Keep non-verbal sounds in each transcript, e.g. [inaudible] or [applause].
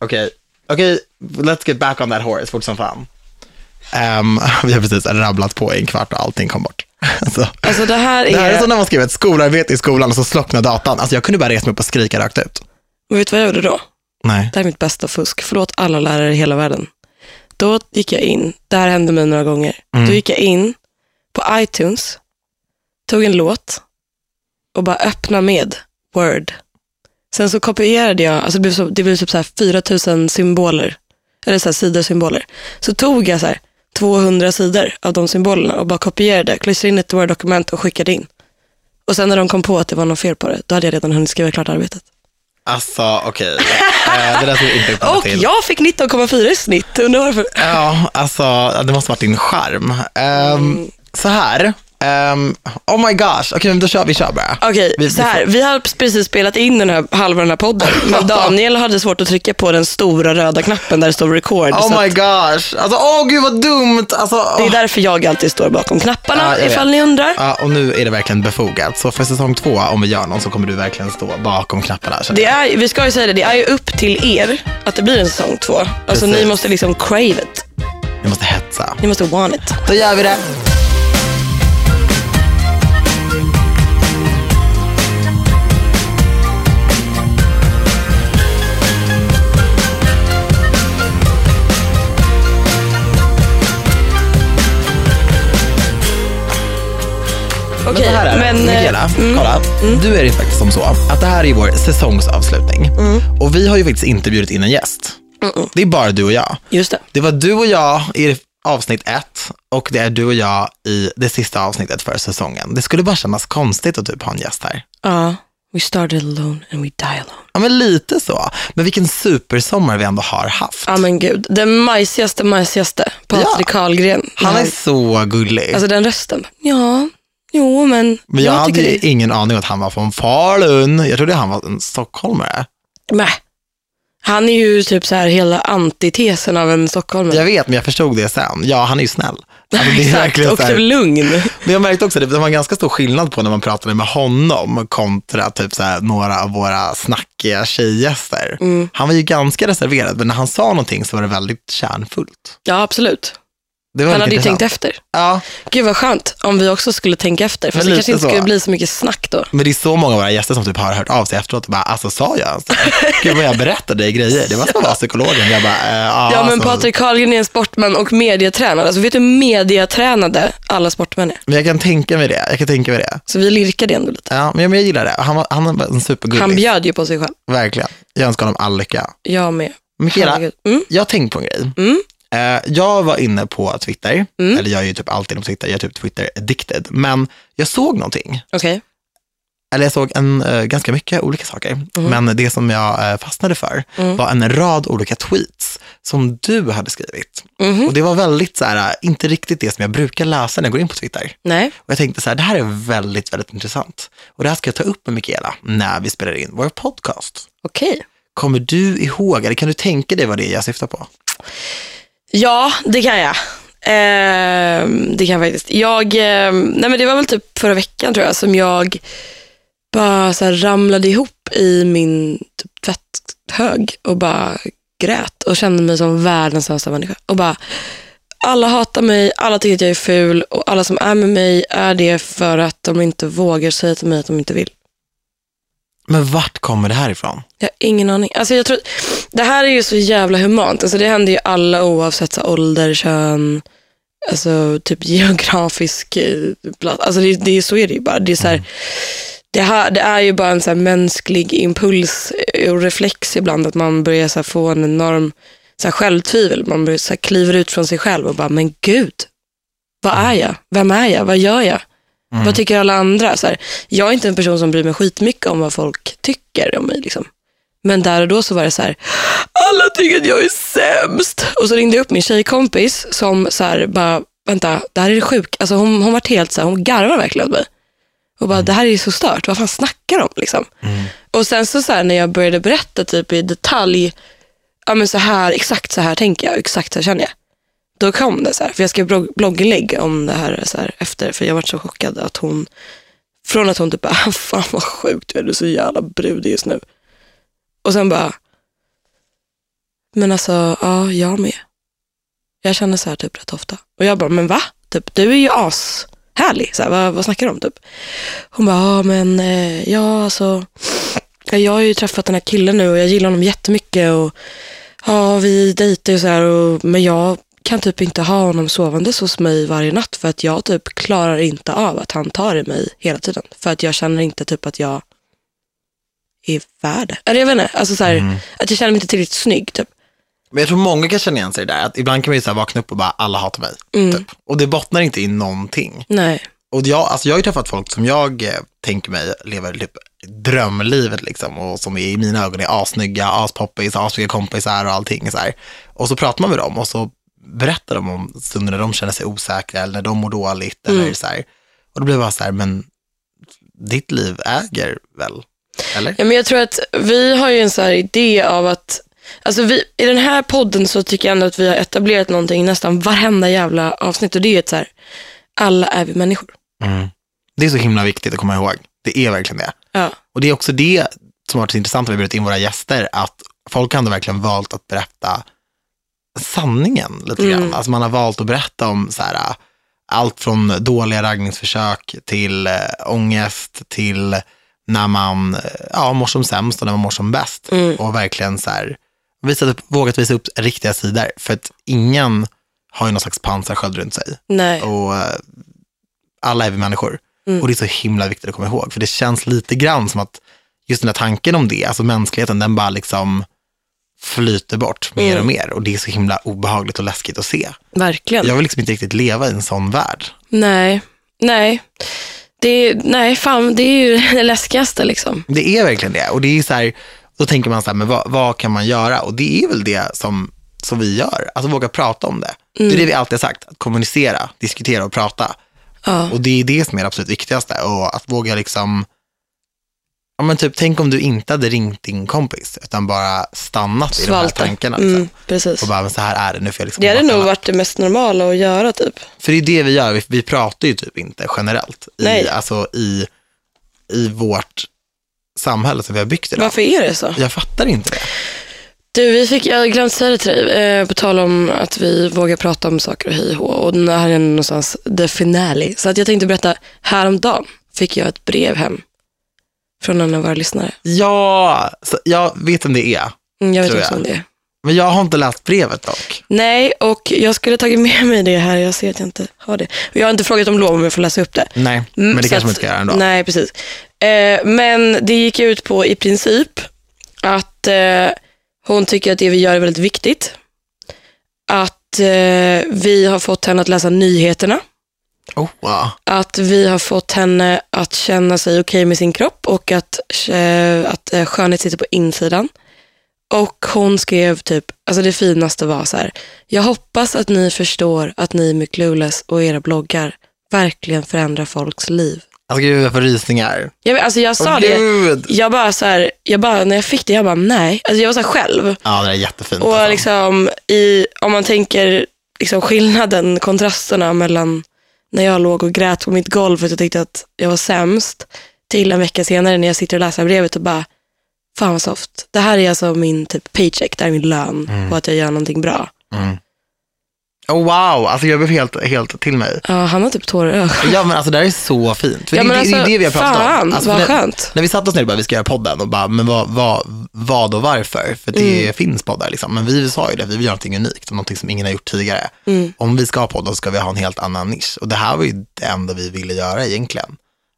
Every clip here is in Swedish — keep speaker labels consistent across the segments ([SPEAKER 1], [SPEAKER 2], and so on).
[SPEAKER 1] Okej, okej, let's get back on that horse fort som fan. Ehm, [laughs] vi har precis rabblat på i en kvart och allting kom bort. [laughs] Alltså,
[SPEAKER 2] Alltså det här är...
[SPEAKER 1] det här är som när man skrev ett skolarbete i skolan och så slocknade datan. Alltså jag kunde bara resa mig upp och skrika rakt ut.
[SPEAKER 2] Och vet du vad jag gjorde då?
[SPEAKER 1] Nej.
[SPEAKER 2] Det här är mitt bästa fusk. Förlåt alla lärare i hela världen. Då gick jag in, det här hände mig några gånger.
[SPEAKER 1] Mm.
[SPEAKER 2] Då gick jag in på iTunes, tog en låt och bara öppna med Word. Sen så kopierade jag, alltså det blev, så, det blev typ så här 4000 symboler, eller så här sidorsymboler. Så tog jag så här 200 sidor av de symbolerna och bara kopierade, klistrade in ett Word-dokument och skickade in. Och sen när de kom på att det var något fel på det, då hade jag redan hunnit skriva klart arbetet.
[SPEAKER 1] Alltså okej, Eh, det där ska vi inte [laughs] komma
[SPEAKER 2] Och
[SPEAKER 1] till.
[SPEAKER 2] jag fick 19,4 i snitt. Undrar varför.
[SPEAKER 1] Ja, alltså det måste varit din charm. Ehm, Så här, ehm, oh my gosh, okej men då kör vi, kör bara.
[SPEAKER 2] Okej,
[SPEAKER 1] Vi- vi
[SPEAKER 2] så här.
[SPEAKER 1] får-
[SPEAKER 2] Vi har precis spelat in den här halva den här podden,
[SPEAKER 1] [laughs]
[SPEAKER 2] men Daniel hade svårt att trycka på den stora röda knappen där det står record. så
[SPEAKER 1] Oh
[SPEAKER 2] att
[SPEAKER 1] my gosh, alltså åh gud vad dumt. Alltså,
[SPEAKER 2] det
[SPEAKER 1] åh.
[SPEAKER 2] är därför jag alltid står bakom knapparna,
[SPEAKER 1] Ja, jag vet.
[SPEAKER 2] ifall ni undrar.
[SPEAKER 1] Ja, och nu är det verkligen befogat. Så för säsong två, om vi gör någon, så kommer du verkligen stå bakom knapparna. känner
[SPEAKER 2] Det
[SPEAKER 1] jag.
[SPEAKER 2] är, vi ska ju säga det, det är ju upp till er att det blir en säsong två. Alltså
[SPEAKER 1] Precis.
[SPEAKER 2] ni måste liksom crave it.
[SPEAKER 1] Vi måste hetsa.
[SPEAKER 2] Ni måste want it.
[SPEAKER 1] Då gör vi det. Men
[SPEAKER 2] Okej,
[SPEAKER 1] så här är det.
[SPEAKER 2] men, eh, Mm.
[SPEAKER 1] Mikaela, kolla. Du är ju faktiskt som så att det här är ju vår säsongsavslutning. Och vi har ju faktiskt inte bjudit in en gäst.
[SPEAKER 2] Mm. Mm-mm.
[SPEAKER 1] Det är bara du och jag.
[SPEAKER 2] just det.
[SPEAKER 1] Det var du och jag i avsnitt ett och det är du och jag i det sista avsnittet för säsongen. Det skulle bara kännas konstigt att typ ha en gäst här.
[SPEAKER 2] Ja, we started alone and we die alone.
[SPEAKER 1] Ja, men lite så. Men vilken supersommar vi ändå har haft.
[SPEAKER 2] Ja men gud, den majsigaste, majsigaste, Patrik
[SPEAKER 1] Ja.
[SPEAKER 2] Karlgren.
[SPEAKER 1] Han är så gullig.
[SPEAKER 2] Alltså den rösten. Ja, jo men,
[SPEAKER 1] men jag,
[SPEAKER 2] jag
[SPEAKER 1] hade
[SPEAKER 2] tycker
[SPEAKER 1] ju
[SPEAKER 2] det.
[SPEAKER 1] ingen aning att han var från Falun. Jag trodde han var en stockholmare.
[SPEAKER 2] Mäh. Han är ju typ så här hela antitesen av en stockholmare.
[SPEAKER 1] Jag vet, men jag förstod det sen. Ja, han är ju
[SPEAKER 2] [laughs]
[SPEAKER 1] snäll. Alltså, det är verkligen
[SPEAKER 2] och
[SPEAKER 1] så här-
[SPEAKER 2] typ lugn.
[SPEAKER 1] Men jag märkte också att det var en ganska stor skillnad på när man pratade med honom kontra typ så här, några av våra snackiga tjejgäster.
[SPEAKER 2] Mm.
[SPEAKER 1] Han var ju ganska reserverad, men när han sa någonting så var det väldigt kärnfullt.
[SPEAKER 2] Ja, absolut.
[SPEAKER 1] Det var
[SPEAKER 2] Han
[SPEAKER 1] väldigt
[SPEAKER 2] hade ju
[SPEAKER 1] intressant.
[SPEAKER 2] tänkt efter.
[SPEAKER 1] Ja,
[SPEAKER 2] Gud vad skönt om vi också skulle tänka efter, för
[SPEAKER 1] Men
[SPEAKER 2] det
[SPEAKER 1] lite
[SPEAKER 2] kanske inte
[SPEAKER 1] så.
[SPEAKER 2] skulle bli så mycket snack då.
[SPEAKER 1] men det är så många av våra gäster som typ har hört av sig efteråt och bara, alltså sa jag
[SPEAKER 2] [laughs]
[SPEAKER 1] ens det? Gud vad jag berättade grejer. Det var som att vara psykologen. Jag bara, eh, ja,
[SPEAKER 2] Ja, men
[SPEAKER 1] alltså.
[SPEAKER 2] Patrik Karlgren är en sportman och mediatränare. Alltså vet du hur mediatränade alla sportmän är?
[SPEAKER 1] Men jag kan tänka mig det. Jag kan tänka mig det.
[SPEAKER 2] Så vi lirkade ändå lite.
[SPEAKER 1] Ja, men jag, men jag gillar det. Han var, han var en
[SPEAKER 2] Han
[SPEAKER 1] supergullig.
[SPEAKER 2] bjöd ju på sig själv.
[SPEAKER 1] Verkligen. Jag önskar honom all lycka.
[SPEAKER 2] Jag med.
[SPEAKER 1] Mikaela,
[SPEAKER 2] Herregud. Mm.
[SPEAKER 1] jag har tänkt på en grej.
[SPEAKER 2] Mm.
[SPEAKER 1] Eh, jag var inne på Twitter, eller jag är ju typ alltid på Twitter, jag är typ Twitter addicted, men jag såg någonting.
[SPEAKER 2] Okej.
[SPEAKER 1] Eller jag såg en, eh, ganska mycket olika saker,
[SPEAKER 2] Mm.
[SPEAKER 1] men det som jag eh, fastnade för var en rad olika tweets som du hade skrivit.
[SPEAKER 2] Mhm.
[SPEAKER 1] Och det var väldigt så här, eh, inte riktigt det som jag brukar läsa när jag går in på Twitter.
[SPEAKER 2] Nej.
[SPEAKER 1] Och jag tänkte så här, det här är väldigt, väldigt intressant. Och det här ska jag ta upp med Mikaela när vi spelar in vår podcast.
[SPEAKER 2] Okej.
[SPEAKER 1] Kommer du ihåg, eller kan du tänka dig vad det är jag syftar på?
[SPEAKER 2] Ja, det kan jag. Ehm, det kan jag faktiskt. Jag, ehm, nej men det var väl typ förra veckan tror jag som jag bara så här ramlade ihop i min typ tvätthög och bara grät och kände mig som världens sämsta människa. Och bara, alla hatar mig, alla tycker att jag är ful och alla som är med mig är det för att de inte vågar säga till mig att de inte vill.
[SPEAKER 1] Men vart kommer det här ifrån?
[SPEAKER 2] Jag har ingen aning. Alltså jag tror, det här är ju så jävla humant. Alltså det händer ju alla oavsett så här, ålder, kön, alltså typ [laughs] geografisk eh, plats. Alltså det, det, så är det ju bara. Det är, så här, det, här, det är ju bara en så här mänsklig impuls eh, och reflex ibland att man börjar så här, få en enorm så här, självtvivel. Man börjar, så här, kliver ut från sig själv och bara, men gud, vad är jag? Vem är jag? Vad gör jag? Vad tycker alla andra? Så här, jag är inte en person som bryr mig skitmycket om vad folk tycker om mig. Liksom. Men där och då så var det så här, alla tycker att jag är sämst. Och så ringde jag upp min tjejkompis som så här, bara, vänta, det här är det sjuk. Alltså hon, hon vart helt så här, hon garvar verkligen åt mig. Och bara, det här är ju så stört, vad fan snackar de om? Liksom. Och sen så, så här, när jag började berätta typ i detalj, ja men så här, exakt så här tänker jag, exakt så här känner jag. Då kom det så här, för jag skrev blogg- blogginlägg om det här, så här efter, för jag var så chockad att hon, från att hon typ bara, fan vad sjukt, du är så jävla brudig just nu. Och sen bara, Men alltså, ja, jag med. Jag känner så här typ rätt ofta. Och jag bara, men va? Typ, du är ju as härlig. Så här, vad, vad snackar du om typ? Hon bara, ja men eh, ja alltså. Ja, jag har ju träffat den här killen nu och jag gillar honom jättemycket. Och, ja, vi dejtar ju så här, och, men jag kan typ inte ha honom sovandes hos mig varje natt för att jag typ klarar inte av att han tar i mig hela tiden. För att jag känner inte typ att jag är värd det. Eller jag vet inte, alltså så här,
[SPEAKER 1] Mm.
[SPEAKER 2] att jag känner mig inte tillräckligt snygg typ.
[SPEAKER 1] Men jag tror många kan känna igen sig i det där, att ibland kan man ju så här vakna upp och bara, alla hatar mig. Typ. Och det bottnar inte i någonting.
[SPEAKER 2] Nej.
[SPEAKER 1] Och jag, alltså jag har ju träffat folk som jag eh, tänker mig lever typ drömlivet liksom och som är, i mina ögon är assnygga, aspoppis, assnygga kompisar och allting så här. Och så pratar man med dem och så berättar de om stunder när de känner sig osäkra eller när de mår dåligt eller så här. Och då blir det bara så här, men ditt liv äger väl? Eller?
[SPEAKER 2] Ja, men jag tror att vi har ju en så här idé av att, alltså vi, i den här podden så tycker jag ändå att vi har etablerat någonting nästan varenda jävla avsnitt och det är ju ett så här, alla är vi människor.
[SPEAKER 1] Det är så himla viktigt att komma ihåg. Det är verkligen det.
[SPEAKER 2] Ja.
[SPEAKER 1] Och det är också det som har varit så intressant när vi bjudit in våra gäster, att folk har ändå verkligen valt att berätta sanningen lite grann. Alltså man har valt att berätta om så här, äh, allt från dåliga raggningsförsök till äh, ångest, till när man äh, ja, mår som sämst och när man mår som bäst. Och verkligen så här, visat upp, vågat visa upp riktiga sidor, för att ingen har ju någon slags pansarsköld runt sig
[SPEAKER 2] Nej.
[SPEAKER 1] och eh, alla är vi människor. Och det är så himla viktigt att komma ihåg, för det känns lite grann som att just den där tanken om det, alltså mänskligheten, den bara liksom flyter bort mer och mer och det är så himla obehagligt och läskigt att se.
[SPEAKER 2] Verkligen.
[SPEAKER 1] Jag vill liksom inte riktigt leva i en sån värld.
[SPEAKER 2] Nej. Nej. Det är, nej, fan, det är ju [laughs] det läskigaste liksom.
[SPEAKER 1] Det är verkligen det. Och det är så här, då tänker man så här, men vad, vad kan man göra? Och det är väl det som, som vi gör, alltså våga prata om det.
[SPEAKER 2] Mm.
[SPEAKER 1] Det är det vi alltid har sagt, att kommunicera, diskutera och prata. Och det är det som är det absolut viktigaste. Och att våga liksom, ja men typ tänk om du inte hade ringt din kompis, utan bara stannat i de här
[SPEAKER 2] Svalta.
[SPEAKER 1] tankarna. Liksom.
[SPEAKER 2] Mm, precis.
[SPEAKER 1] Och bara, men så här är det nu. För, jag liksom
[SPEAKER 2] Det hade
[SPEAKER 1] bara
[SPEAKER 2] nog
[SPEAKER 1] stanna.
[SPEAKER 2] varit det mest normala att göra typ.
[SPEAKER 1] för det är det vi gör, vi, vi pratar ju typ inte generellt i,
[SPEAKER 2] Nej.
[SPEAKER 1] alltså, i, i vårt samhälle som vi har byggt idag.
[SPEAKER 2] Varför är det så?
[SPEAKER 1] Jag fattar inte det.
[SPEAKER 2] Du, vi fick, jag glömde säga det till dig, eh, på tal om att vi vågar prata om saker och hej och hå. Och det här är någonstans the finale. Så att jag tänkte berätta, häromdagen fick jag ett brev hem från en av våra lyssnare.
[SPEAKER 1] Ja, så jag vet om det är.
[SPEAKER 2] Mm, Jag vet
[SPEAKER 1] Tror
[SPEAKER 2] inte
[SPEAKER 1] jag.
[SPEAKER 2] om det är.
[SPEAKER 1] Men jag har inte läst brevet dock.
[SPEAKER 2] Nej, och jag skulle tagit med mig det här. Jag ser att jag inte har det. Och Jag har inte frågat om lov om jag får läsa upp det.
[SPEAKER 1] Nej, men
[SPEAKER 2] Mm,
[SPEAKER 1] det
[SPEAKER 2] så
[SPEAKER 1] kanske man
[SPEAKER 2] att-
[SPEAKER 1] inte ska göra ändå.
[SPEAKER 2] Nej, precis. Eh, men det gick ut på i princip att eh, hon tycker att det vi gör är väldigt viktigt. Att eh, vi har fått henne att läsa nyheterna.
[SPEAKER 1] Oh, ja.
[SPEAKER 2] Att vi har fått henne att känna sig okej med sin kropp och att, eh, att eh, skönhet sitter på insidan. Och hon skrev typ, alltså det finaste var så här. Jag hoppas att ni förstår att ni med Clueless och era bloggar verkligen förändrar folks liv.
[SPEAKER 1] Alltså gud, jag får rysningar.
[SPEAKER 2] Jag, vet- alltså jag sa
[SPEAKER 1] Åh,
[SPEAKER 2] det,
[SPEAKER 1] gud.
[SPEAKER 2] jag bara så här, jag bara, när jag fick det, jag bara nej. Alltså jag var så här själv.
[SPEAKER 1] Ja, det är jättefint.
[SPEAKER 2] Och
[SPEAKER 1] alltså.
[SPEAKER 2] liksom, i, om man tänker liksom skillnaden, kontrasterna mellan när jag låg och grät på mitt golv för att jag tyckte att jag var sämst, till en vecka senare när jag sitter och läser brevet och bara, fan vad soft. Det här är alltså min typ paycheck, det här är min lön
[SPEAKER 1] Mm.
[SPEAKER 2] på att jag gör någonting bra.
[SPEAKER 1] oh, wow, alltså jag blev helt, helt till mig.
[SPEAKER 2] Ja, han har typ tårar i ögonen.
[SPEAKER 1] Ja, men alltså det här är så fint. För
[SPEAKER 2] Ja,
[SPEAKER 1] det,
[SPEAKER 2] men
[SPEAKER 1] det, det är
[SPEAKER 2] alltså,
[SPEAKER 1] det vi har pratat
[SPEAKER 2] fan,
[SPEAKER 1] om. Alltså,
[SPEAKER 2] vad
[SPEAKER 1] för när,
[SPEAKER 2] skönt.
[SPEAKER 1] När vi satt oss ner och bara, vi ska göra podden och bara, men vad, vad, vad och varför? För det
[SPEAKER 2] Mm.
[SPEAKER 1] finns poddar liksom. Men vi sa ju det, vi vill göra någonting unikt och någonting som ingen har gjort tidigare.
[SPEAKER 2] Mm.
[SPEAKER 1] Om vi ska ha podden så ska vi ha en helt annan nisch. Och det här var ju det enda vi ville göra egentligen.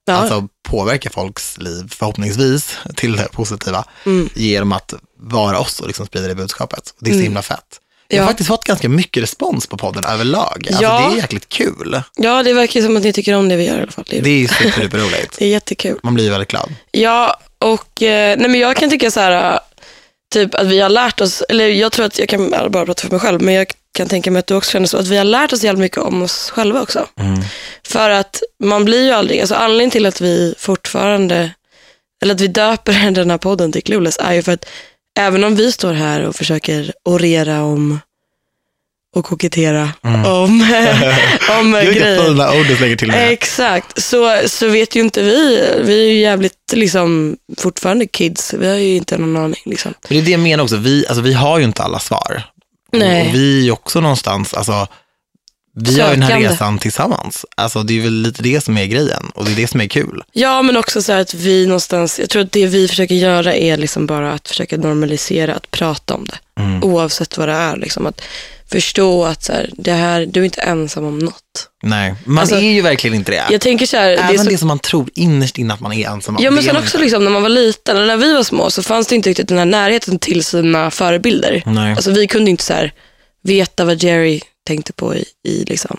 [SPEAKER 2] Ja.
[SPEAKER 1] Alltså påverka folks liv förhoppningsvis till det positiva
[SPEAKER 2] Mm.
[SPEAKER 1] genom att vara oss och liksom sprida det budskapet. Och det är så himla fett. Jag har
[SPEAKER 2] Ja.
[SPEAKER 1] faktiskt fått ganska mycket respons på podden överlag. Alltså,
[SPEAKER 2] Ja.
[SPEAKER 1] Det är jäkligt kul.
[SPEAKER 2] Ja, det verkar ju som att ni tycker om det vi gör i alla fall. Det är,
[SPEAKER 1] Det är ju superduperroligt.
[SPEAKER 2] [laughs] det är jättekul.
[SPEAKER 1] Man blir ju väldigt glad.
[SPEAKER 2] Ja, och eh, nej men jag kan tycka så här, eh, typ att vi har lärt oss, eller jag tror att jag kan jag bara prata för mig själv, men jag kan tänka mig att du också känner så, att vi har lärt oss jävligt mycket om oss själva också. För att man blir ju aldrig, alltså anledningen till att vi fortfarande, eller att vi döper [laughs] den här podden till Clueless är ju för att även om vi står här och försöker orera om och kokettera om, [laughs] om
[SPEAKER 1] Vilka
[SPEAKER 2] grejer.
[SPEAKER 1] fina ord du slänger till med.
[SPEAKER 2] Exakt, så, så vet ju inte vi. Vi är ju jävligt liksom, fortfarande kids. Vi har ju inte någon aning. Liksom.
[SPEAKER 1] Men det är det jag menar också, vi, alltså, vi har ju inte alla svar.
[SPEAKER 2] Nej.
[SPEAKER 1] Och vi är ju också någonstans, alltså, vi har ju den här
[SPEAKER 2] Sökande.
[SPEAKER 1] resan tillsammans. Alltså, det är väl lite det som är grejen och det är det som är kul.
[SPEAKER 2] Ja, men också så här att vi någonstans, jag tror att det vi försöker göra är liksom bara att försöka normalisera, att prata om det.
[SPEAKER 1] Mm.
[SPEAKER 2] Oavsett vad det är. Liksom, att förstå att så här, det här, du är inte ensam om något.
[SPEAKER 1] Nej, man
[SPEAKER 2] Alltså,
[SPEAKER 1] är ju verkligen inte det.
[SPEAKER 2] Jag tänker så här, det är
[SPEAKER 1] Även
[SPEAKER 2] så
[SPEAKER 1] det som man tror innerst inne att man är ensam om,
[SPEAKER 2] Ja men
[SPEAKER 1] det är
[SPEAKER 2] sen
[SPEAKER 1] man
[SPEAKER 2] också
[SPEAKER 1] inte.
[SPEAKER 2] liksom, när man var liten, eller när vi var små så fanns det inte riktigt den här närheten till sina förebilder.
[SPEAKER 1] Nej.
[SPEAKER 2] Alltså vi kunde inte så här, veta vad Jerry tänkte på i, i liksom.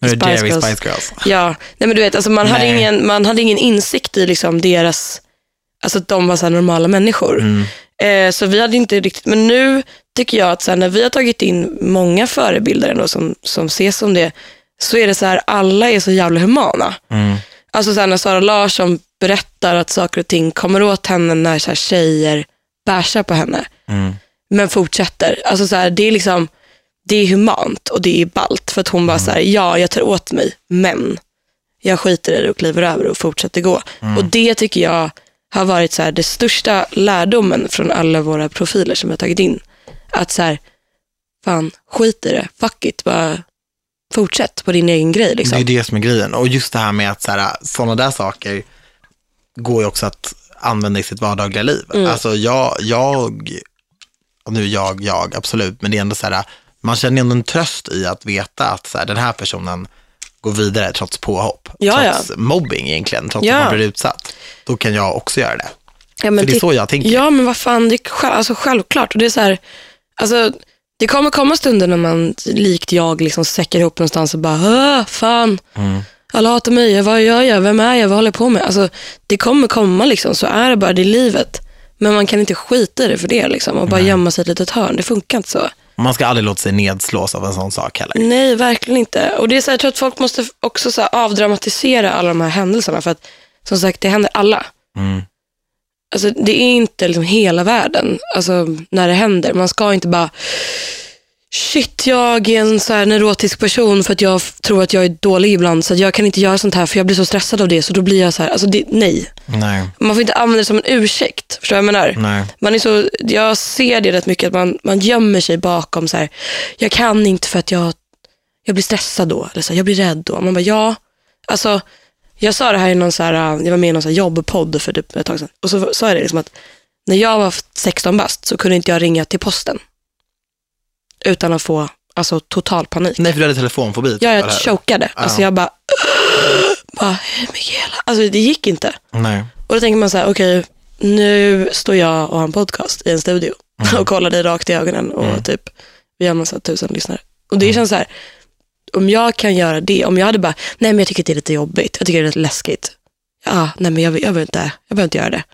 [SPEAKER 1] Nu är det
[SPEAKER 2] Spice
[SPEAKER 1] Jerry
[SPEAKER 2] Girls.
[SPEAKER 1] Spice Girls.
[SPEAKER 2] Ja, nej men du vet, alltså man, hade
[SPEAKER 1] Nej.
[SPEAKER 2] ingen, man hade ingen insikt i liksom deras, alltså att de var så här normala människor.
[SPEAKER 1] Mm.
[SPEAKER 2] Eh, så vi hade inte riktigt, men nu tycker jag att så här, när vi har tagit in många förebilder ändå som, som ses som det, så är det så här, alla är så jävla humana.
[SPEAKER 1] Mm.
[SPEAKER 2] Alltså så här, när Sara Larsson berättar att saker och ting kommer åt henne när så här, tjejer bärsar på henne,
[SPEAKER 1] Mm.
[SPEAKER 2] men fortsätter. Alltså så här, det är liksom, det är humant och det är ballt för att hon
[SPEAKER 1] Mm.
[SPEAKER 2] bara så här, ja jag tar åt mig, men jag skiter i det och kliver över och fortsätter gå.
[SPEAKER 1] Mm.
[SPEAKER 2] Och det tycker jag har varit så här, det största lärdomen från alla våra profiler som vi har tagit in. Att så här, fan skit i det, fuck it, bara fortsätt på din egen grej
[SPEAKER 1] Det är ju
[SPEAKER 2] liksom.
[SPEAKER 1] det som är grejen. Och just det här med att sådana där saker går ju också att använda i sitt vardagliga liv.
[SPEAKER 2] Mm.
[SPEAKER 1] Alltså jag, jag, och nu jag, jag, absolut, men det är ändå så här, man känner ju ändå en tröst i att veta att så här, den här personen går vidare trots påhopp,
[SPEAKER 2] Ja, ja.
[SPEAKER 1] trots mobbing egentligen, trots
[SPEAKER 2] Ja.
[SPEAKER 1] att man blir utsatt. Då kan jag också göra det.
[SPEAKER 2] Ja, men
[SPEAKER 1] För det är
[SPEAKER 2] titta-
[SPEAKER 1] så jag tänker.
[SPEAKER 2] Ja, men vad fan, det är själv, alltså, självklart. Och det, är så här, alltså, det kommer komma stunder när man likt jag liksom säckar ihop någonstans och bara, "Åh, fan, alla hatar mig, vad gör jag, vem är jag, vad håller jag på med? Alltså, det kommer komma, liksom, så är det bara, det är livet. Men man kan inte skita i det för det liksom, och bara gömma sig i ett litet hörn. Det funkar inte så.
[SPEAKER 1] Man ska aldrig låta sig nedslås av en sån sak heller.
[SPEAKER 2] Nej, verkligen inte. Och det är så här, jag tror att folk måste också så här avdramatisera alla de här händelserna för att som sagt, det händer alla.
[SPEAKER 1] Mm.
[SPEAKER 2] Alltså, det är inte liksom hela världen alltså, när det händer. Man ska inte bara, shit jag är en så här neurotisk person för att jag f- tror att jag är dålig ibland så att jag kan inte göra sånt här för jag blir så stressad av det så då blir jag så här, alltså det, nej.
[SPEAKER 1] Nej,
[SPEAKER 2] Man får inte använda det som en ursäkt, förstår du vad jag menar?
[SPEAKER 1] nej.
[SPEAKER 2] Man är så, jag ser det rätt mycket, att man, man gömmer sig bakom så här, jag kan inte för att jag, jag blir stressad då, eller så här, jag blir rädd då. Man bara, ja, alltså, jag sa det här i någon så här, äh, jag var med i någon så här jobbpodd för typ ett tag sedan, och så sa jag det liksom att när jag var 16 bast så kunde inte jag ringa till posten utan att få alltså, total panik.
[SPEAKER 1] Nej, för du hade telefonfobi. typ,
[SPEAKER 2] Jag,
[SPEAKER 1] eller
[SPEAKER 2] jag
[SPEAKER 1] hur?
[SPEAKER 2] chokade, alltså jag bara, [gasps] bara, Mikaela, alltså det gick inte.
[SPEAKER 1] Nej.
[SPEAKER 2] Och då tänker man så här, okej, nu står jag och har en podcast i en studio
[SPEAKER 1] Mm.
[SPEAKER 2] och kollar dig rakt i ögonen och typ, vi har en massa tusen lyssnare. Och
[SPEAKER 1] Mm.
[SPEAKER 2] det känns så här, om jag kan göra det, om jag hade bara, nej men jag tycker det är lite jobbigt, jag tycker det är lite läskigt. Ja, nej men jag, vill- jag behöver inte, jag behöver inte göra det.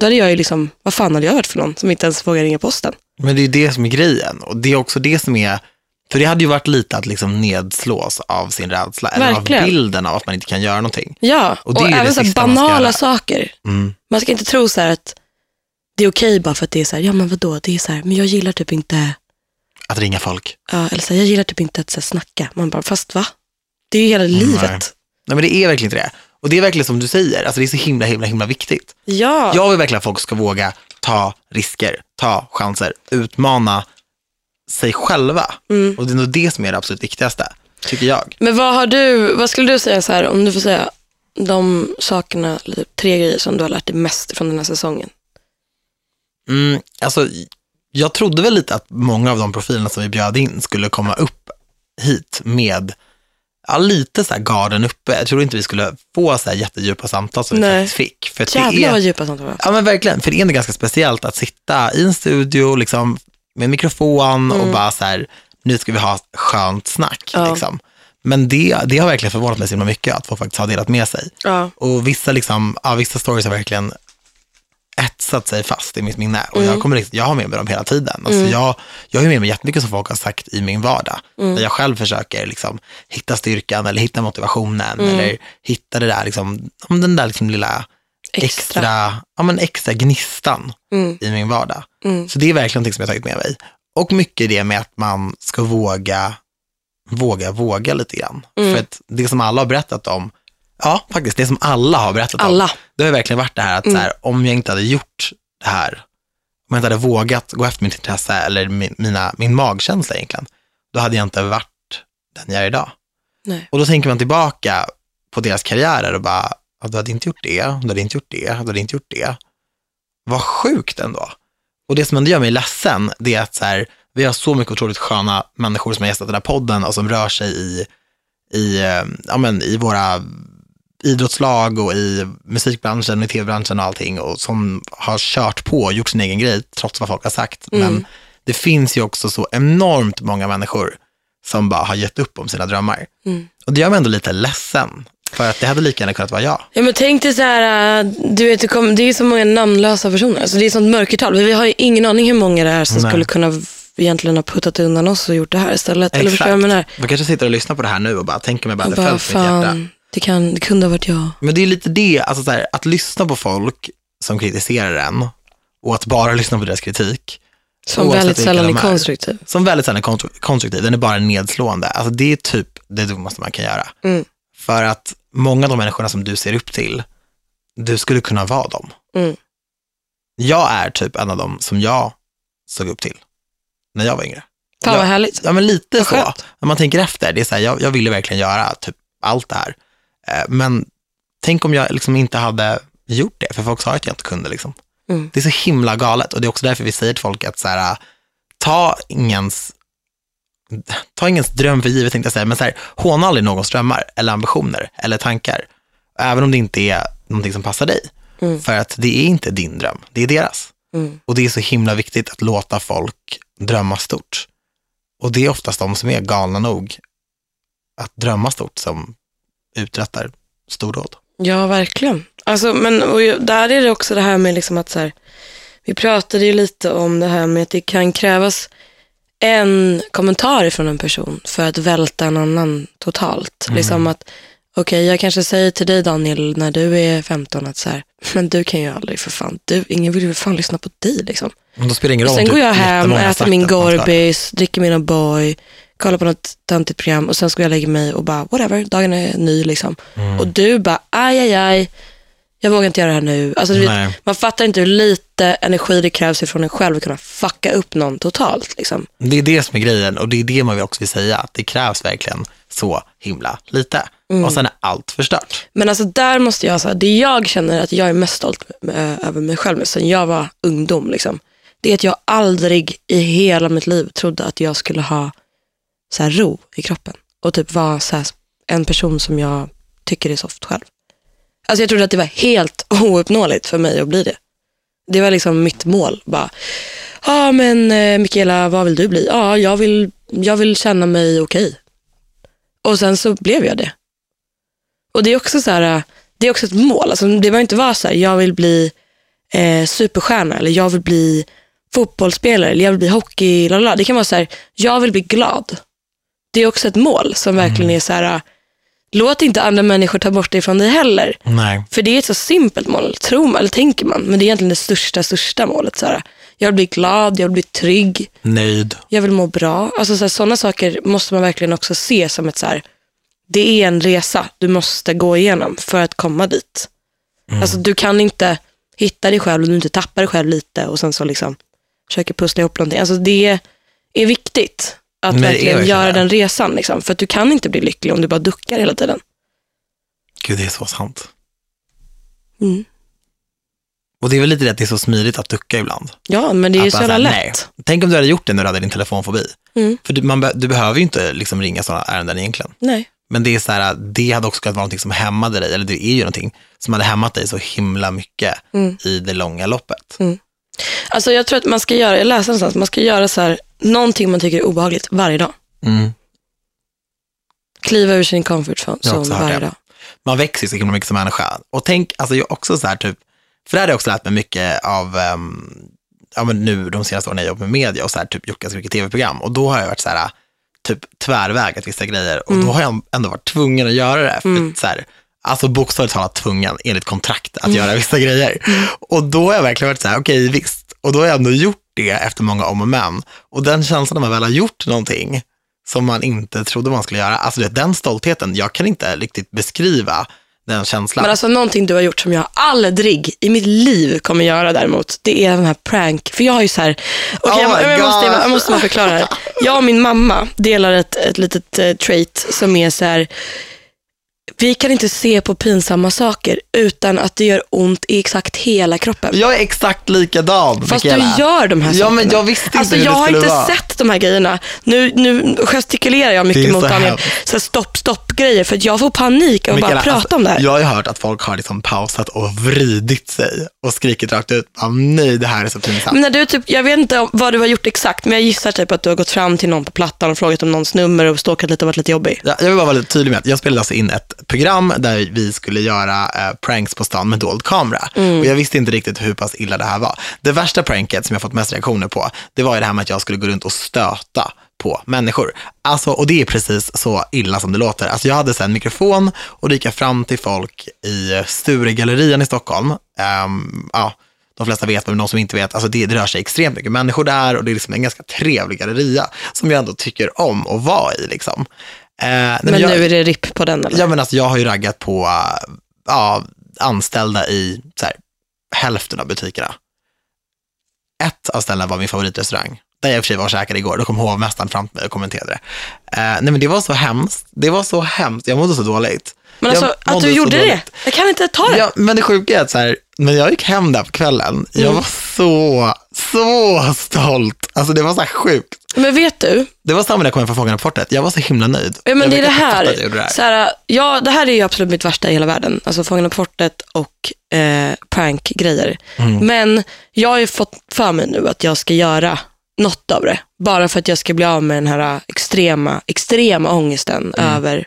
[SPEAKER 2] Då hade jag ju liksom, vad fan hade jag varit för någon som inte ens vågar ringa posten?
[SPEAKER 1] Men det är ju det som är grejen. Och det är också det som är, för det hade ju varit lite att liksom nedslås av sin rädsla, eller
[SPEAKER 2] Verkligen.
[SPEAKER 1] av bilden av att man inte kan göra någonting.
[SPEAKER 2] Ja,
[SPEAKER 1] Och
[SPEAKER 2] och,
[SPEAKER 1] det är ju det
[SPEAKER 2] även så här
[SPEAKER 1] sista man ska göra.
[SPEAKER 2] banala saker.
[SPEAKER 1] Mm.
[SPEAKER 2] Man ska inte tro så här att det är okej bara för att det är så här, ja men vadå, det är så här, men jag gillar typ inte
[SPEAKER 1] Att ringa folk.
[SPEAKER 2] Ja, eller så här, jag gillar typ inte att så här, snacka. Man bara, fast va? Det är ju hela livet.
[SPEAKER 1] Nej men det är verkligen inte det. Och det är verkligen som du säger, alltså det är så himla, himla, himla viktigt.
[SPEAKER 2] Ja.
[SPEAKER 1] Jag vill verkligen att folk ska våga ta risker, ta chanser, utmana sig själva.
[SPEAKER 2] Mm.
[SPEAKER 1] Och det är nog det som är det absolut viktigaste, tycker jag.
[SPEAKER 2] Men vad har du, vad skulle du säga så här, om du får säga de sakerna, eller typ tre grejer som du har lärt dig mest från den här säsongen?
[SPEAKER 1] Mm, alltså, jag trodde väl lite att många av de profilerna som vi bjöd in skulle komma upp hit med ja, lite så här garden uppe. Jag tror inte vi skulle få så här jättedjupa samtal som vi
[SPEAKER 2] Nej.
[SPEAKER 1] faktiskt fick. För att det
[SPEAKER 2] Jävlar vad
[SPEAKER 1] är,
[SPEAKER 2] djupa samtal vi har haft.
[SPEAKER 1] ja, men verkligen, för det är ändå ganska speciellt att sitta i en studio liksom, med mikrofon och bara så här, nu ska vi ha ett skönt snack.
[SPEAKER 2] Mm. Ja.
[SPEAKER 1] Liksom. Men det, det har verkligen förvånat mig så himla mycket att folk faktiskt har delat med sig.
[SPEAKER 2] Ja.
[SPEAKER 1] Och vissa, liksom, ja, vissa stories har verkligen etsat sig fast i mitt minne. Och jag, kommer, riktigt- jag har med mig dem hela tiden. Alltså jag, jag har med mig jättemycket som folk har sagt i min vardag. Där jag själv försöker liksom, hitta styrkan eller hitta motivationen. Eller hitta det där, liksom, om den där liksom lilla extra,
[SPEAKER 2] Extra.
[SPEAKER 1] ja, men extra gnistan
[SPEAKER 2] Mm.
[SPEAKER 1] i min vardag.
[SPEAKER 2] Mm.
[SPEAKER 1] Så det är verkligen någonting som jag har tagit med mig. Och mycket det med att man ska våga våga våga lite grann.
[SPEAKER 2] Mm.
[SPEAKER 1] För att det som alla har berättat om, ja faktiskt, det som alla har berättat om,
[SPEAKER 2] Alla.
[SPEAKER 1] det har ju verkligen varit det här att så här, om jag inte hade gjort det här, om jag inte hade vågat gå efter mitt intresse eller min, mina, min magkänsla egentligen, då hade jag inte varit den jag är idag.
[SPEAKER 2] Nej.
[SPEAKER 1] Och då tänker man tillbaka på deras karriärer och bara, ja, du hade inte gjort det, du hade inte gjort det, du hade inte gjort det. Vad sjukt ändå. Och det som ändå gör mig ledsen, det är att så här, vi har så mycket otroligt sköna människor som har gästat den här podden och som rör sig i, i, eh, ja, men, i våra idrottslag och i musikbranschen och i tv-branschen och allting och som har kört på och gjort sin egen grej trots vad folk har sagt.
[SPEAKER 2] Mm.
[SPEAKER 1] Men det finns ju också så enormt många människor som bara har gett upp om sina drömmar.
[SPEAKER 2] Mm.
[SPEAKER 1] Och det gör mig ändå lite ledsen, för att det hade lika gärna kunnat vara jag.
[SPEAKER 2] Ja, men tänk dig så här, äh, du vet, det, kom, det är ju så många namnlösa personer. Alltså, det är sånt mörkertal. Vi har ju ingen aning hur många det är som
[SPEAKER 1] Nej.
[SPEAKER 2] skulle kunna v- egentligen ha puttat undan oss och gjort det här istället. Eller förstår jag vad jag menar?
[SPEAKER 1] Du kanske sitter och lyssnar på det här nu och bara tänker mig bara, det
[SPEAKER 2] Bara,
[SPEAKER 1] föll för mitt hjärta.
[SPEAKER 2] fan, det, kan, det kunde ha varit jag.
[SPEAKER 1] Men det är lite det, alltså så här, att lyssna på folk som kritiserar en och att bara lyssna på deras kritik,
[SPEAKER 2] Som
[SPEAKER 1] Oavsett
[SPEAKER 2] väldigt
[SPEAKER 1] vilka
[SPEAKER 2] sällan
[SPEAKER 1] de
[SPEAKER 2] är
[SPEAKER 1] är.
[SPEAKER 2] konstruktiv.
[SPEAKER 1] som väldigt sällan är konstru- konstruktiv, den är bara nedslående. Alltså det är typ det dummaste man kan göra.
[SPEAKER 2] Mm.
[SPEAKER 1] För att många av de människorna som du ser upp till, du skulle kunna vara dem.
[SPEAKER 2] Mm.
[SPEAKER 1] Jag är typ en av dem som jag såg upp till när jag var yngre.
[SPEAKER 2] Fan vad
[SPEAKER 1] Ja.
[SPEAKER 2] härligt.
[SPEAKER 1] Ja, men lite
[SPEAKER 2] Vad
[SPEAKER 1] så.
[SPEAKER 2] skönt.
[SPEAKER 1] När man tänker efter, det är så här, jag, jag ville verkligen göra typ allt det här. Eh, Men tänk om jag liksom inte hade gjort det, för folk sa att jag inte kunde. Liksom.
[SPEAKER 2] Mm.
[SPEAKER 1] Det är så himla galet och det är också därför vi säger till folk att så här, eh, ta ingens Ta ingens dröm för givet, tänkte jag säga, men så här, håna aldrig någons drömmar eller ambitioner eller tankar. Även om det inte är någonting som passar dig.
[SPEAKER 2] Mm.
[SPEAKER 1] För att det är inte din dröm, det är deras.
[SPEAKER 2] Mm.
[SPEAKER 1] Och det är så himla viktigt att låta folk drömma stort. Och det är oftast de som är galna nog att drömma stort som uträttar stordåd.
[SPEAKER 2] Ja, verkligen. Alltså, men, och ju- där är det också det här med liksom att så här, vi pratade ju lite om det här med att det kan krävas en kommentar från en person för att välta en annan totalt.
[SPEAKER 1] Mm.
[SPEAKER 2] Liksom att, okej, jag kanske säger till dig Daniel när du är 15 att så här, [laughs] men du kan ju aldrig för fan, du, ingen vill ju för fan lyssna på dig liksom.
[SPEAKER 1] Men då spelar det ingen roll.
[SPEAKER 2] Sen
[SPEAKER 1] om
[SPEAKER 2] går
[SPEAKER 1] typ
[SPEAKER 2] jag hem,
[SPEAKER 1] jättemånga har
[SPEAKER 2] äter
[SPEAKER 1] sagt
[SPEAKER 2] min
[SPEAKER 1] att man ska-
[SPEAKER 2] Gorbis, dricker min O'boy, kollar på något töntigt program och sen ska jag lägga mig och bara whatever, dagen är ny liksom.
[SPEAKER 1] Mm.
[SPEAKER 2] Och du bara aj, aj, aj, jag vågar inte göra det här nu. Alltså, du
[SPEAKER 1] Nej.
[SPEAKER 2] vet, man fattar inte hur lite energi det krävs ifrån en själv att kunna fucka upp någon totalt. Liksom.
[SPEAKER 1] Det är det som är grejen och det är det man också vill säga, att det krävs verkligen så himla lite.
[SPEAKER 2] Mm.
[SPEAKER 1] Och sen är allt förstört.
[SPEAKER 2] Men alltså där måste jag, så här, det jag känner att jag är mest stolt med, över mig själv med sen jag var ungdom, liksom, det är att jag aldrig i hela mitt liv trodde att jag skulle ha så här, ro i kroppen och typ vara så här, en person som jag tycker är soft själv. Alltså jag trodde att det var helt [laughs] ouppnåeligt för mig att bli det. Det var liksom mitt mål. Bara, ja men eh, Mikaela, vad vill du bli? Ja, jag vill, jag vill känna mig okej. Och sen så blev jag det. Och det är också så här, äh, det är också ett mål. Alltså, det behöver inte vara så här, jag vill bli eh, superstjärna eller jag vill bli fotbollsspelare eller jag vill bli hockey. Lalala. Det kan vara så här, jag vill bli glad. Det är också ett mål som verkligen är så här, äh, låt inte andra människor ta bort det från dig heller.
[SPEAKER 1] Nej.
[SPEAKER 2] För det är ett så simpelt mål, tror man, eller tänker man, men det är egentligen det största, största målet. Så här. Jag vill bli glad, jag vill bli trygg,
[SPEAKER 1] Nöjd.
[SPEAKER 2] jag vill må bra. Alltså så här, sådana saker måste man verkligen också se som ett så här, det är en resa du måste gå igenom för att komma dit.
[SPEAKER 1] Mm.
[SPEAKER 2] Alltså du kan inte hitta dig själv, om du inte tappar dig själv lite och sen så liksom försöker pussla ihop någonting. Alltså det är viktigt att
[SPEAKER 1] Men det är
[SPEAKER 2] verkligen
[SPEAKER 1] verkligen
[SPEAKER 2] göra
[SPEAKER 1] det.
[SPEAKER 2] den resan. Liksom, för att du kan inte bli lycklig om du bara duckar hela tiden.
[SPEAKER 1] Gud, det är så sant.
[SPEAKER 2] Mm.
[SPEAKER 1] Och det är väl lite det att det är så smidigt att ducka ibland.
[SPEAKER 2] Ja, men det är ju
[SPEAKER 1] Att
[SPEAKER 2] så
[SPEAKER 1] bara
[SPEAKER 2] jävla
[SPEAKER 1] så här,
[SPEAKER 2] lätt.
[SPEAKER 1] Nej. Tänk om du hade gjort det när du hade din telefonfobi.
[SPEAKER 2] Mm.
[SPEAKER 1] För du, man be, du behöver ju inte liksom ringa sådana ärenden egentligen.
[SPEAKER 2] Nej.
[SPEAKER 1] Men det är så här, det hade också kunnat vara någonting som hämmade dig, eller det är ju någonting som hade hämmat dig så himla mycket i det långa loppet.
[SPEAKER 2] Alltså jag tror att man ska göra, jag läste någonstans, man ska göra så här, någonting man tycker är obehagligt varje dag.
[SPEAKER 1] Mm.
[SPEAKER 2] Kliva ur sin comfort
[SPEAKER 1] Jag har
[SPEAKER 2] zone
[SPEAKER 1] också hört
[SPEAKER 2] varje
[SPEAKER 1] det.
[SPEAKER 2] dag.
[SPEAKER 1] Man växer ju så himla mycket som människa. Och tänk, alltså jag är också så här typ, för det hade jag också lärt mig mycket av, ehm, ja men nu de senaste åren när jag jobbat med media och så här typ gjort ganska mycket tv-program. Och då har jag varit så här, typ tvärvägat vissa grejer. Och då har jag ändå varit tvungen att göra det. För så här, alltså bokstavligt talat tvungen enligt kontrakt att göra vissa grejer. Och då har jag verkligen varit så här, okej visst. Och då har jag ändå gjort det efter många om och men. Och den känslan när man väl har gjort någonting, som man inte trodde man skulle göra. Alltså du vet, den stoltheten, jag kan inte riktigt beskriva den känslan.
[SPEAKER 2] Men alltså någonting du har gjort som jag aldrig i mitt liv kommer göra däremot, det är den här prank. För jag har ju så här, okej
[SPEAKER 1] Oh
[SPEAKER 2] jag,
[SPEAKER 1] my
[SPEAKER 2] jag, måste,
[SPEAKER 1] gosh.
[SPEAKER 2] jag måste bara förklara här. Jag och min mamma delar ett, ett litet eh, trait som är så här, vi kan inte se på pinsamma saker utan att det gör ont i exakt hela kroppen.
[SPEAKER 1] jag är exakt likadan,
[SPEAKER 2] Fast
[SPEAKER 1] Mikaela.
[SPEAKER 2] du gör de här
[SPEAKER 1] Ja,
[SPEAKER 2] sakerna.
[SPEAKER 1] men jag visste inte
[SPEAKER 2] alltså,
[SPEAKER 1] hur det
[SPEAKER 2] jag har
[SPEAKER 1] skulle
[SPEAKER 2] inte
[SPEAKER 1] vara.
[SPEAKER 2] sett de här grejerna. Nu, nu gestikulerar jag
[SPEAKER 1] Det är
[SPEAKER 2] mycket mot
[SPEAKER 1] så
[SPEAKER 2] Daniel.
[SPEAKER 1] hemskt.
[SPEAKER 2] Så här stopp, stopp-grejer. För att jag får panik av att bara
[SPEAKER 1] Mikaela,
[SPEAKER 2] prata
[SPEAKER 1] alltså,
[SPEAKER 2] om det här.
[SPEAKER 1] Jag har ju hört att folk har liksom pausat och vridit sig och skrikit rakt ut, ah, nej det här är så pinsamt.
[SPEAKER 2] Men när du typ, jag vet inte om- vad du har gjort exakt, men jag gissar typ att du har gått fram till någon på Plattan och frågat om någons nummer och stalkat lite och varit lite jobbig.
[SPEAKER 1] Ja, Jag vill bara vara lite tydlig med att jag spelade alltså in ett program där vi skulle göra eh, pranks på stan med dold kamera. Och jag visste inte riktigt hur pass illa det här var. Det värsta pranket som jag fått mest reaktioner på, det var ju det här med att jag skulle gå runt och stöta på människor. Alltså, och det är precis så illa som det låter. Alltså, jag hade sen en mikrofon och då gick jag fram till folk i Sturegallerian i Stockholm. Ehm, ja, de flesta vet, men de som inte vet, alltså det, det rör sig extremt mycket människor där och det är liksom en ganska trevlig galleria som jag ändå tycker om att vara i. Liksom. Eh, nej,
[SPEAKER 2] Men,
[SPEAKER 1] jag,
[SPEAKER 2] nu är det ripp på den eller?
[SPEAKER 1] ja, men alltså, jag har ju raggat på äh, ja, anställda i så här, hälften av butikerna. Ett av ställena var min favoritrestaurang, där jag i och för sig var och käkade igår. Då kom hovmästaren fram till mig och kommenterade det. Eh, nej, men det var så hemskt. Det var så hemskt. Jag mådde så dåligt.
[SPEAKER 2] men
[SPEAKER 1] Jag
[SPEAKER 2] alltså att
[SPEAKER 1] mådde
[SPEAKER 2] du
[SPEAKER 1] så
[SPEAKER 2] gjorde det.
[SPEAKER 1] dåligt.
[SPEAKER 2] Jag kan inte ta det.
[SPEAKER 1] Ja, men det sjuka är att så här, när jag gick hem där på kvällen, jag
[SPEAKER 2] Mm.
[SPEAKER 1] var så, så stolt. Alltså det var så här sjukt.
[SPEAKER 2] Men vet du,
[SPEAKER 1] Det var samma när jag kom hem från Fångarna på fortet. Jag var så himla nöjd.
[SPEAKER 2] ja,
[SPEAKER 1] jag
[SPEAKER 2] men det är
[SPEAKER 1] vet
[SPEAKER 2] det
[SPEAKER 1] inte
[SPEAKER 2] här.
[SPEAKER 1] att jag gjorde det här.
[SPEAKER 2] Så här, ja, det här är ju absolut mitt värsta i hela världen. Alltså Fångarna på fortet och eh, prankgrejer.
[SPEAKER 1] Mm.
[SPEAKER 2] Men jag har ju fått för mig nu att jag ska göra något av det. Bara för att jag ska bli av med den här extrema, extrema ångesten
[SPEAKER 1] Mm.
[SPEAKER 2] över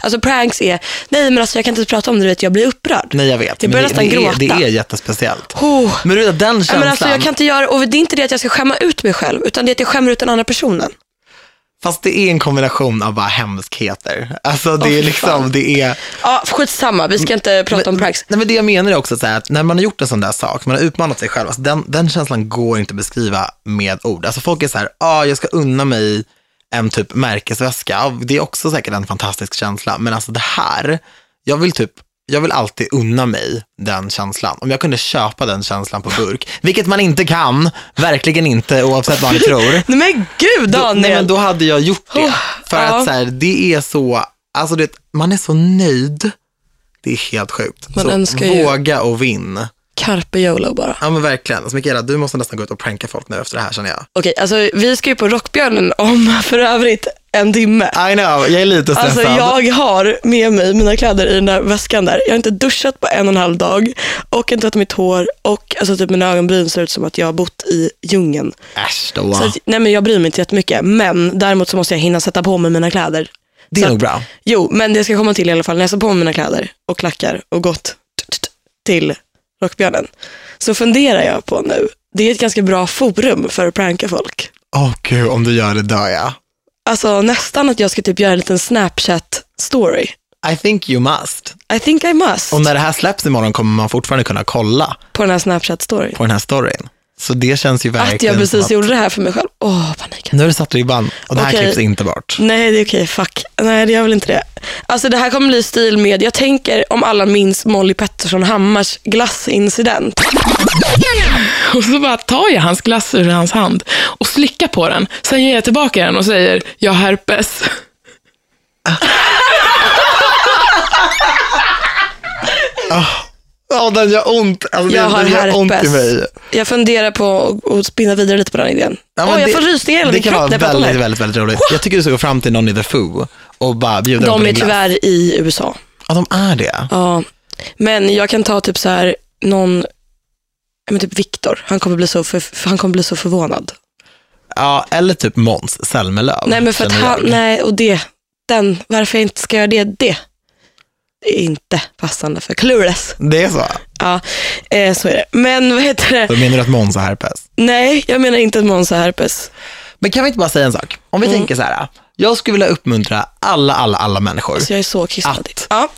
[SPEAKER 2] Alltså pranks är, nej men alltså jag kan inte ens prata om det, du vet, jag blir upprörd.
[SPEAKER 1] Nej, jag vet.
[SPEAKER 2] Jag
[SPEAKER 1] Men
[SPEAKER 2] börjar
[SPEAKER 1] det,
[SPEAKER 2] nästan
[SPEAKER 1] det, är,
[SPEAKER 2] gråta.
[SPEAKER 1] det är jättespeciellt.
[SPEAKER 2] Oh.
[SPEAKER 1] Men du vet, den
[SPEAKER 2] Ja,
[SPEAKER 1] känslan.
[SPEAKER 2] men alltså, jag kan inte göra, och det är inte det att jag ska skämma ut mig själv, utan det är att jag skämmer ut den andra personen.
[SPEAKER 1] Fast det är en kombination av bara hemskheter. Alltså det
[SPEAKER 2] Åh,
[SPEAKER 1] är
[SPEAKER 2] fy
[SPEAKER 1] liksom,
[SPEAKER 2] fan.
[SPEAKER 1] det är...
[SPEAKER 2] Ja, skitsamma, vi ska inte prata om pranks.
[SPEAKER 1] Nej, men det jag menar är också så här att när man har gjort en sån där sak, man har utmanat sig själv, alltså den, den känslan går inte att beskriva med ord. Alltså folk är så här, ah, jag ska unna mig en typ märkesväska. Ja, Det är också säkert en fantastisk känsla, men alltså det här, jag vill typ jag vill alltid unna mig den känslan. Om jag kunde köpa den känslan på burk, vilket man inte kan, verkligen inte oavsett vad ni tror.
[SPEAKER 2] Nej men gud Daniel!
[SPEAKER 1] Nej, men då hade jag gjort det.
[SPEAKER 2] Oh,
[SPEAKER 1] för
[SPEAKER 2] ja.
[SPEAKER 1] att så här, det är så, alltså det, man är så nöjd. Det är helt sjukt.
[SPEAKER 2] Man
[SPEAKER 1] så
[SPEAKER 2] önskar ju-
[SPEAKER 1] våga och vinn.
[SPEAKER 2] Carpe YOLO bara.
[SPEAKER 1] Ja men verkligen. Alltså, Mikaela, du måste nästan gå ut och pranka folk nu efter det här känner jag.
[SPEAKER 2] Okej, alltså vi ska ju på Rockbjörnen om [laughs] för övrigt en timme.
[SPEAKER 1] I know, jag är lite stressad.
[SPEAKER 2] Alltså jag har med mig mina kläder i den där väskan där. Jag har inte duschat på en och en halv dag och inte tvättat mitt hår och alltså typ mina ögonbryn ser ut som att jag har bott i djungeln.
[SPEAKER 1] Äsch då.
[SPEAKER 2] Så att, nej men jag bryr mig inte jättemycket, men däremot så måste jag hinna sätta på mig mina kläder.
[SPEAKER 1] det
[SPEAKER 2] så
[SPEAKER 1] är
[SPEAKER 2] att-
[SPEAKER 1] nog bra.
[SPEAKER 2] Jo, men det ska komma till i alla fall när jag sätter på mig mina kläder och klackar och gått till Rockbjörnen. Så funderar jag på nu, det är ett ganska bra forum för att pranka folk.
[SPEAKER 1] Åh gud, om du gör det dör jag.
[SPEAKER 2] Alltså nästan att jag ska typ göra en liten Snapchat-story.
[SPEAKER 1] I think you must.
[SPEAKER 2] I think I must
[SPEAKER 1] Och när det här släpps imorgon kommer man fortfarande kunna kolla
[SPEAKER 2] på den här Snapchat-storyn.
[SPEAKER 1] på den här storyn. Så det känns ju verkligen
[SPEAKER 2] Att jag
[SPEAKER 1] som
[SPEAKER 2] precis
[SPEAKER 1] att...
[SPEAKER 2] gjorde det här för mig själv. Åh, paniken.
[SPEAKER 1] Nu har du satt ribban och det här
[SPEAKER 2] Okej.
[SPEAKER 1] klipps inte bort.
[SPEAKER 2] Nej, det är okej. Fuck. Nej, det gör väl inte det. Alltså det här kommer bli stil med, jag tänker om alla minns Molly Pettersson Hammars glassincident.
[SPEAKER 3] [laughs] Och så bara tar jag hans glass ur hans hand och slickar på den. Sen ger jag tillbaka den och säger, jag har herpes.
[SPEAKER 1] Ja, den gör ont. Alltså,
[SPEAKER 2] Jag
[SPEAKER 1] den,
[SPEAKER 2] har
[SPEAKER 1] den gör ont i mig.
[SPEAKER 2] herpes. Jag funderar på att- att spinna vidare lite på den idén.
[SPEAKER 1] Ja, men
[SPEAKER 2] Åh, jag
[SPEAKER 1] det-
[SPEAKER 2] får rysningar i hela
[SPEAKER 1] Det
[SPEAKER 2] min
[SPEAKER 1] kan vara
[SPEAKER 2] kropp när jag
[SPEAKER 1] väldigt,
[SPEAKER 2] pratar om det
[SPEAKER 1] väldigt,
[SPEAKER 2] här.
[SPEAKER 1] väldigt, roligt. Jag tycker du ska gå fram till någon i The Foo och bara bjuda dem på
[SPEAKER 2] De är
[SPEAKER 1] din glass.
[SPEAKER 2] tyvärr i USA.
[SPEAKER 1] Ja, de är det.
[SPEAKER 2] Ja. Men jag kan ta typ så här någon, ja, men typ Viktor. Han, kommer bli så för- för- han kommer bli så förvånad.
[SPEAKER 1] Ja, eller typ Måns Zelmerlöw.
[SPEAKER 2] nej, men för att
[SPEAKER 1] känner
[SPEAKER 2] han,
[SPEAKER 1] jag.
[SPEAKER 2] nej, och det, den, varför jag inte ska göra det, det är inte passande för clueless.
[SPEAKER 1] Det är så?
[SPEAKER 2] Ja, eh, så är det. Men vad heter det?
[SPEAKER 1] Då menar du att Måns har herpes?
[SPEAKER 2] Nej, jag menar inte att Måns har herpes.
[SPEAKER 1] Men kan vi inte bara säga en sak? Om
[SPEAKER 2] Mm.
[SPEAKER 1] vi tänker så här, jag skulle vilja uppmuntra alla, alla, alla människor,
[SPEAKER 2] Så jag är så kissnödig.
[SPEAKER 1] Att.
[SPEAKER 2] Ja.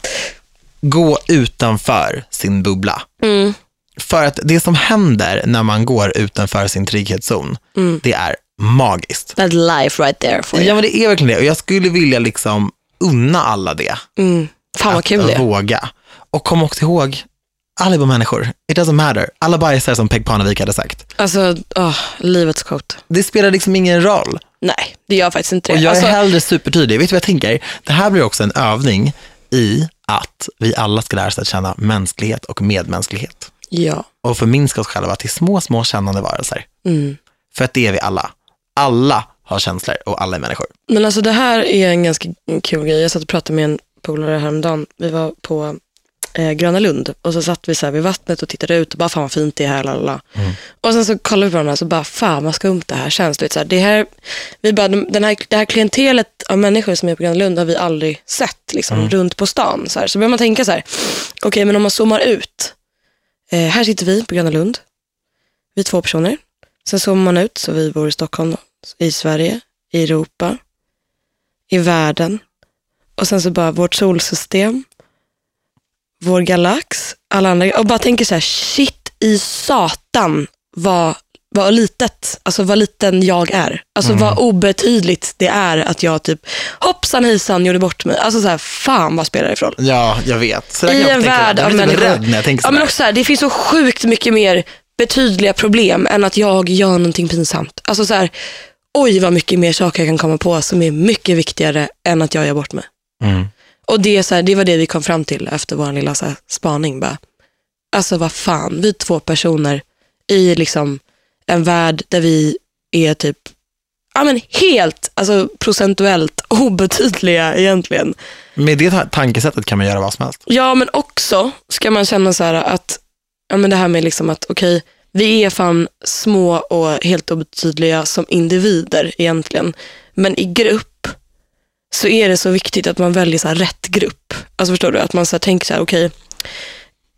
[SPEAKER 1] gå utanför sin bubbla.
[SPEAKER 2] Mm. Mm.
[SPEAKER 1] För att det som händer när man går utanför sin trygghetszon, det är magiskt.
[SPEAKER 2] That life right there for
[SPEAKER 1] Ja
[SPEAKER 2] you.
[SPEAKER 1] men det är verkligen det och jag skulle vilja liksom unna alla det.
[SPEAKER 2] Mm. Fan vad kul
[SPEAKER 1] att
[SPEAKER 2] det är.
[SPEAKER 1] våga. Och kom också ihåg, alla är bara människor. It doesn't matter. Alla bajsar som Peg Parnevik hade sagt.
[SPEAKER 2] Alltså, åh, livets quote.
[SPEAKER 1] Det spelar liksom ingen roll.
[SPEAKER 2] Nej, det gör faktiskt inte
[SPEAKER 1] Och
[SPEAKER 2] det.
[SPEAKER 1] jag
[SPEAKER 2] Alltså,
[SPEAKER 1] är hellre supertydlig. Vet du vad jag tänker? Det här blir också en övning i att vi alla ska lära oss att känna mänsklighet och medmänsklighet.
[SPEAKER 2] ja.
[SPEAKER 1] Och förminska oss själva till små, små kännande varelser.
[SPEAKER 2] Mm.
[SPEAKER 1] För att det är vi alla. Alla har känslor och alla är människor.
[SPEAKER 2] Men alltså det här är en ganska kul grej. Jag satt och pratade med en polare häromdagen. Vi var på eh, Gröna Lund och så satt vi så här vid vattnet och tittade ut och bara fan vad fint det är här. Lalala. Och sen så kollade vi på varandra och så bara fan vad skumt det här känns. Du vet, så här, det, här, vi bara, de- den här, det här klientelet av människor som är på Gröna Lund har vi aldrig sett liksom, runt på stan. Så, här. så börjar man tänka så här, okej men om man zoomar ut. Eh, här sitter vi på Gröna Lund. Vi är två personer. Sen zoomar man ut så vi bor i Stockholm, då, i Sverige, i Europa i världen. Och sen så bara vårt solsystem, vår galax, alla andra. Och bara tänker så här, shit i satan vad, vad litet, alltså vad liten jag är. Alltså vad obetydligt det är att jag typ, hoppsan hejsan gjorde bort mig. Alltså så här, fan vad spelar det för roll?
[SPEAKER 1] Ja, jag vet. Så där kan
[SPEAKER 2] I
[SPEAKER 1] jag
[SPEAKER 2] en
[SPEAKER 1] tänka.
[SPEAKER 2] värld av
[SPEAKER 1] jag blir typ
[SPEAKER 2] människor.
[SPEAKER 1] rädd när jag tänker
[SPEAKER 2] ja,
[SPEAKER 1] sådär.
[SPEAKER 2] men också så här, det finns så sjukt mycket mer betydliga problem än att jag gör någonting pinsamt. Alltså så här, oj vad mycket mer saker jag kan komma på som är mycket viktigare än att jag gör bort mig.
[SPEAKER 1] Mm.
[SPEAKER 2] Och det, är så här, det var det vi kom fram till efter vår lilla så här, spaning. Bara. Alltså vad fan, vi är två personer i liksom en värld där vi är typ ja, men helt alltså, procentuellt [laughs] obetydliga egentgen.
[SPEAKER 1] Med det ta- tankesättet kan man göra vad som helst.
[SPEAKER 2] Ja, men också ska man känna så här att, ja men det här med liksom att okej, vi är fan små och helt obetydliga som individer egentligen. Men i grupp så är det så viktigt att man väljer så här rätt grupp. Alltså förstår du? Att man så här tänker så här, okej,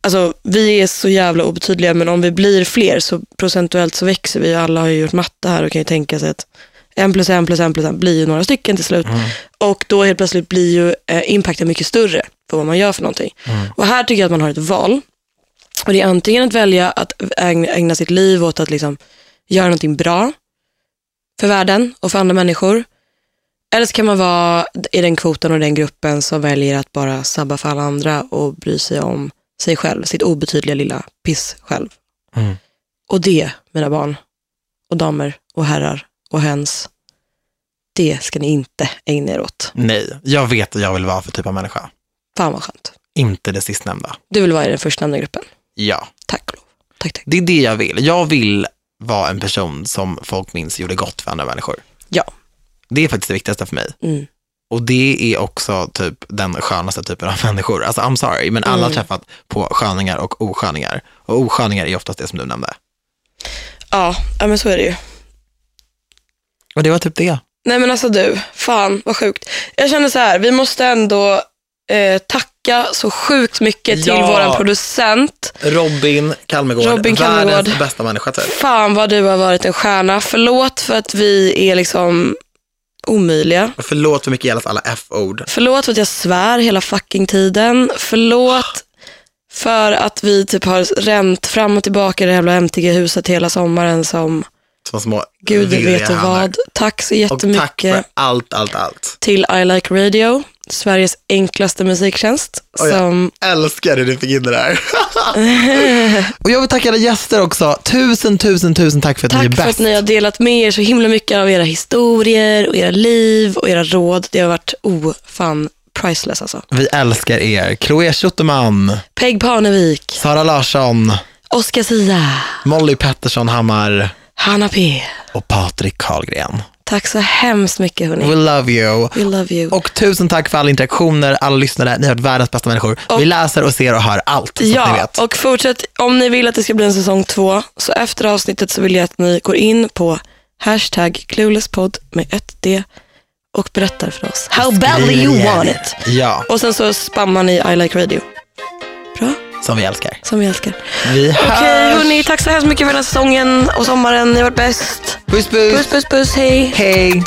[SPEAKER 2] alltså vi är så jävla obetydliga men om vi blir fler så procentuellt så växer vi. Alla har ju gjort matte här och kan ju tänka sig att en plus en plus en plus en blir ju några stycken till slut. Och då helt plötsligt blir ju eh, impacten mycket större för vad man gör för någonting. Och här tycker jag att man har ett val. Och det är antingen att välja att ägna, ägna sitt liv åt att liksom göra någonting bra för världen och för andra människor. Eller så kan man vara i den kvoten och den gruppen som väljer att bara sabba för alla andra och bry sig om sig själv, sitt obetydliga lilla piss själv.
[SPEAKER 1] Mm.
[SPEAKER 2] Och det, mina barn och damer och herrar och höns, det ska ni inte ägna er åt.
[SPEAKER 1] Nej, jag vet vad jag vill vara för typ av människa.
[SPEAKER 2] Fan vad skönt.
[SPEAKER 1] Inte det sistnämnda.
[SPEAKER 2] Du vill vara i den förstnämnda gruppen.
[SPEAKER 1] Ja,
[SPEAKER 2] Tack och lov. Tack, tack.
[SPEAKER 1] det är det jag vill. Jag vill vara en person som folk minns gjorde gott för andra människor.
[SPEAKER 2] Ja.
[SPEAKER 1] Det är faktiskt det viktigaste för mig.
[SPEAKER 2] Mm.
[SPEAKER 1] Och det är också typ den skönaste typen av [laughs] människor. Alltså I'm sorry, men
[SPEAKER 2] Mm.
[SPEAKER 1] alla har träffat på sköningar och osköningar. Och osköningar är oftast det som du nämnde.
[SPEAKER 2] Ja, ja, men så är det ju.
[SPEAKER 1] Och det var typ det.
[SPEAKER 2] Nej men alltså du, fan vad sjukt. Jag känner så här, vi måste ändå eh, tacka så sjukt mycket till
[SPEAKER 1] Ja.
[SPEAKER 2] våran producent.
[SPEAKER 1] Robin Kalmegård,
[SPEAKER 2] Robin Kalmegård.
[SPEAKER 1] världens bästa människa typ.
[SPEAKER 2] Fan vad du har varit en stjärna. Förlåt för att vi är liksom omöjliga.
[SPEAKER 1] Förlåt för Mikaelas alla F-ord.
[SPEAKER 2] Förlåt för att jag svär hela fucking tiden. Förlåt för att vi typ har ränt fram och tillbaka i det jävla MTG-huset hela sommaren som
[SPEAKER 1] Som små
[SPEAKER 2] gud
[SPEAKER 1] virriga
[SPEAKER 2] vet
[SPEAKER 1] hanar.
[SPEAKER 2] vad. Tack så
[SPEAKER 1] Och
[SPEAKER 2] jättemycket.
[SPEAKER 1] tack för allt, allt, allt.
[SPEAKER 2] till I Like Radio, Sveriges enklaste musiktjänst.
[SPEAKER 1] Oj, ja.
[SPEAKER 2] som,
[SPEAKER 1] älskar hur du fick in det där. [laughs] och jag vill tacka alla gäster också. Tusen, tusen, tusen tack för att ni är
[SPEAKER 2] tack för
[SPEAKER 1] bäst.
[SPEAKER 2] att ni har delat med er så himla mycket av era historier och era liv och era råd. Det har varit ofan priceless alltså.
[SPEAKER 1] Vi älskar er. Chloé Schuterman,
[SPEAKER 2] Peg Parnevik,
[SPEAKER 1] Sara Larsson,
[SPEAKER 2] Oscar Sia,
[SPEAKER 1] Molly Pettersson Hammar
[SPEAKER 2] Hanna P.
[SPEAKER 1] och Patrik Karlgren.
[SPEAKER 2] Tack så hemskt mycket hörni.
[SPEAKER 1] We love you.
[SPEAKER 2] We love you.
[SPEAKER 1] Och tusen tack för alla interaktioner, alla lyssnare. Ni har varit världens bästa människor.
[SPEAKER 2] Och-
[SPEAKER 1] Vi läser och ser och hör allt, så att ni
[SPEAKER 2] Ja,
[SPEAKER 1] vet.
[SPEAKER 2] och fortsätt. Om ni vill att det ska bli en säsong två, så efter avsnittet så vill jag att ni går in på hashtag cluelesspodd med ett D och berättar för oss. How badly you want it.
[SPEAKER 1] Ja,
[SPEAKER 2] Och sen så spammar ni I like radio. Bra,
[SPEAKER 1] som vi älskar.
[SPEAKER 2] som vi älskar.
[SPEAKER 1] Vi hörs.
[SPEAKER 2] Okej hörni, tack så hemskt mycket för den här säsongen och sommaren. Ni har varit bäst.
[SPEAKER 1] Puss, puss.
[SPEAKER 2] Puss puss puss, hej.
[SPEAKER 1] Hej.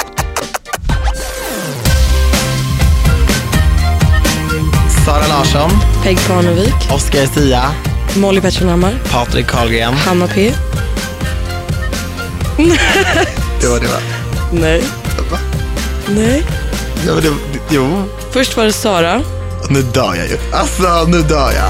[SPEAKER 1] Sara Larsson.
[SPEAKER 2] Peg Parnevik,
[SPEAKER 1] Oscar Sia,
[SPEAKER 2] Molly Pettersson Hammar,
[SPEAKER 1] Patrik Karlgren.
[SPEAKER 2] Hanna P.
[SPEAKER 1] Det var det va?
[SPEAKER 2] Nej.
[SPEAKER 1] Va?
[SPEAKER 2] Nej.
[SPEAKER 1] Ja, men det, jo,
[SPEAKER 2] Först var det Sara.
[SPEAKER 1] nu dör jag ju. Alltså, nu dör jag.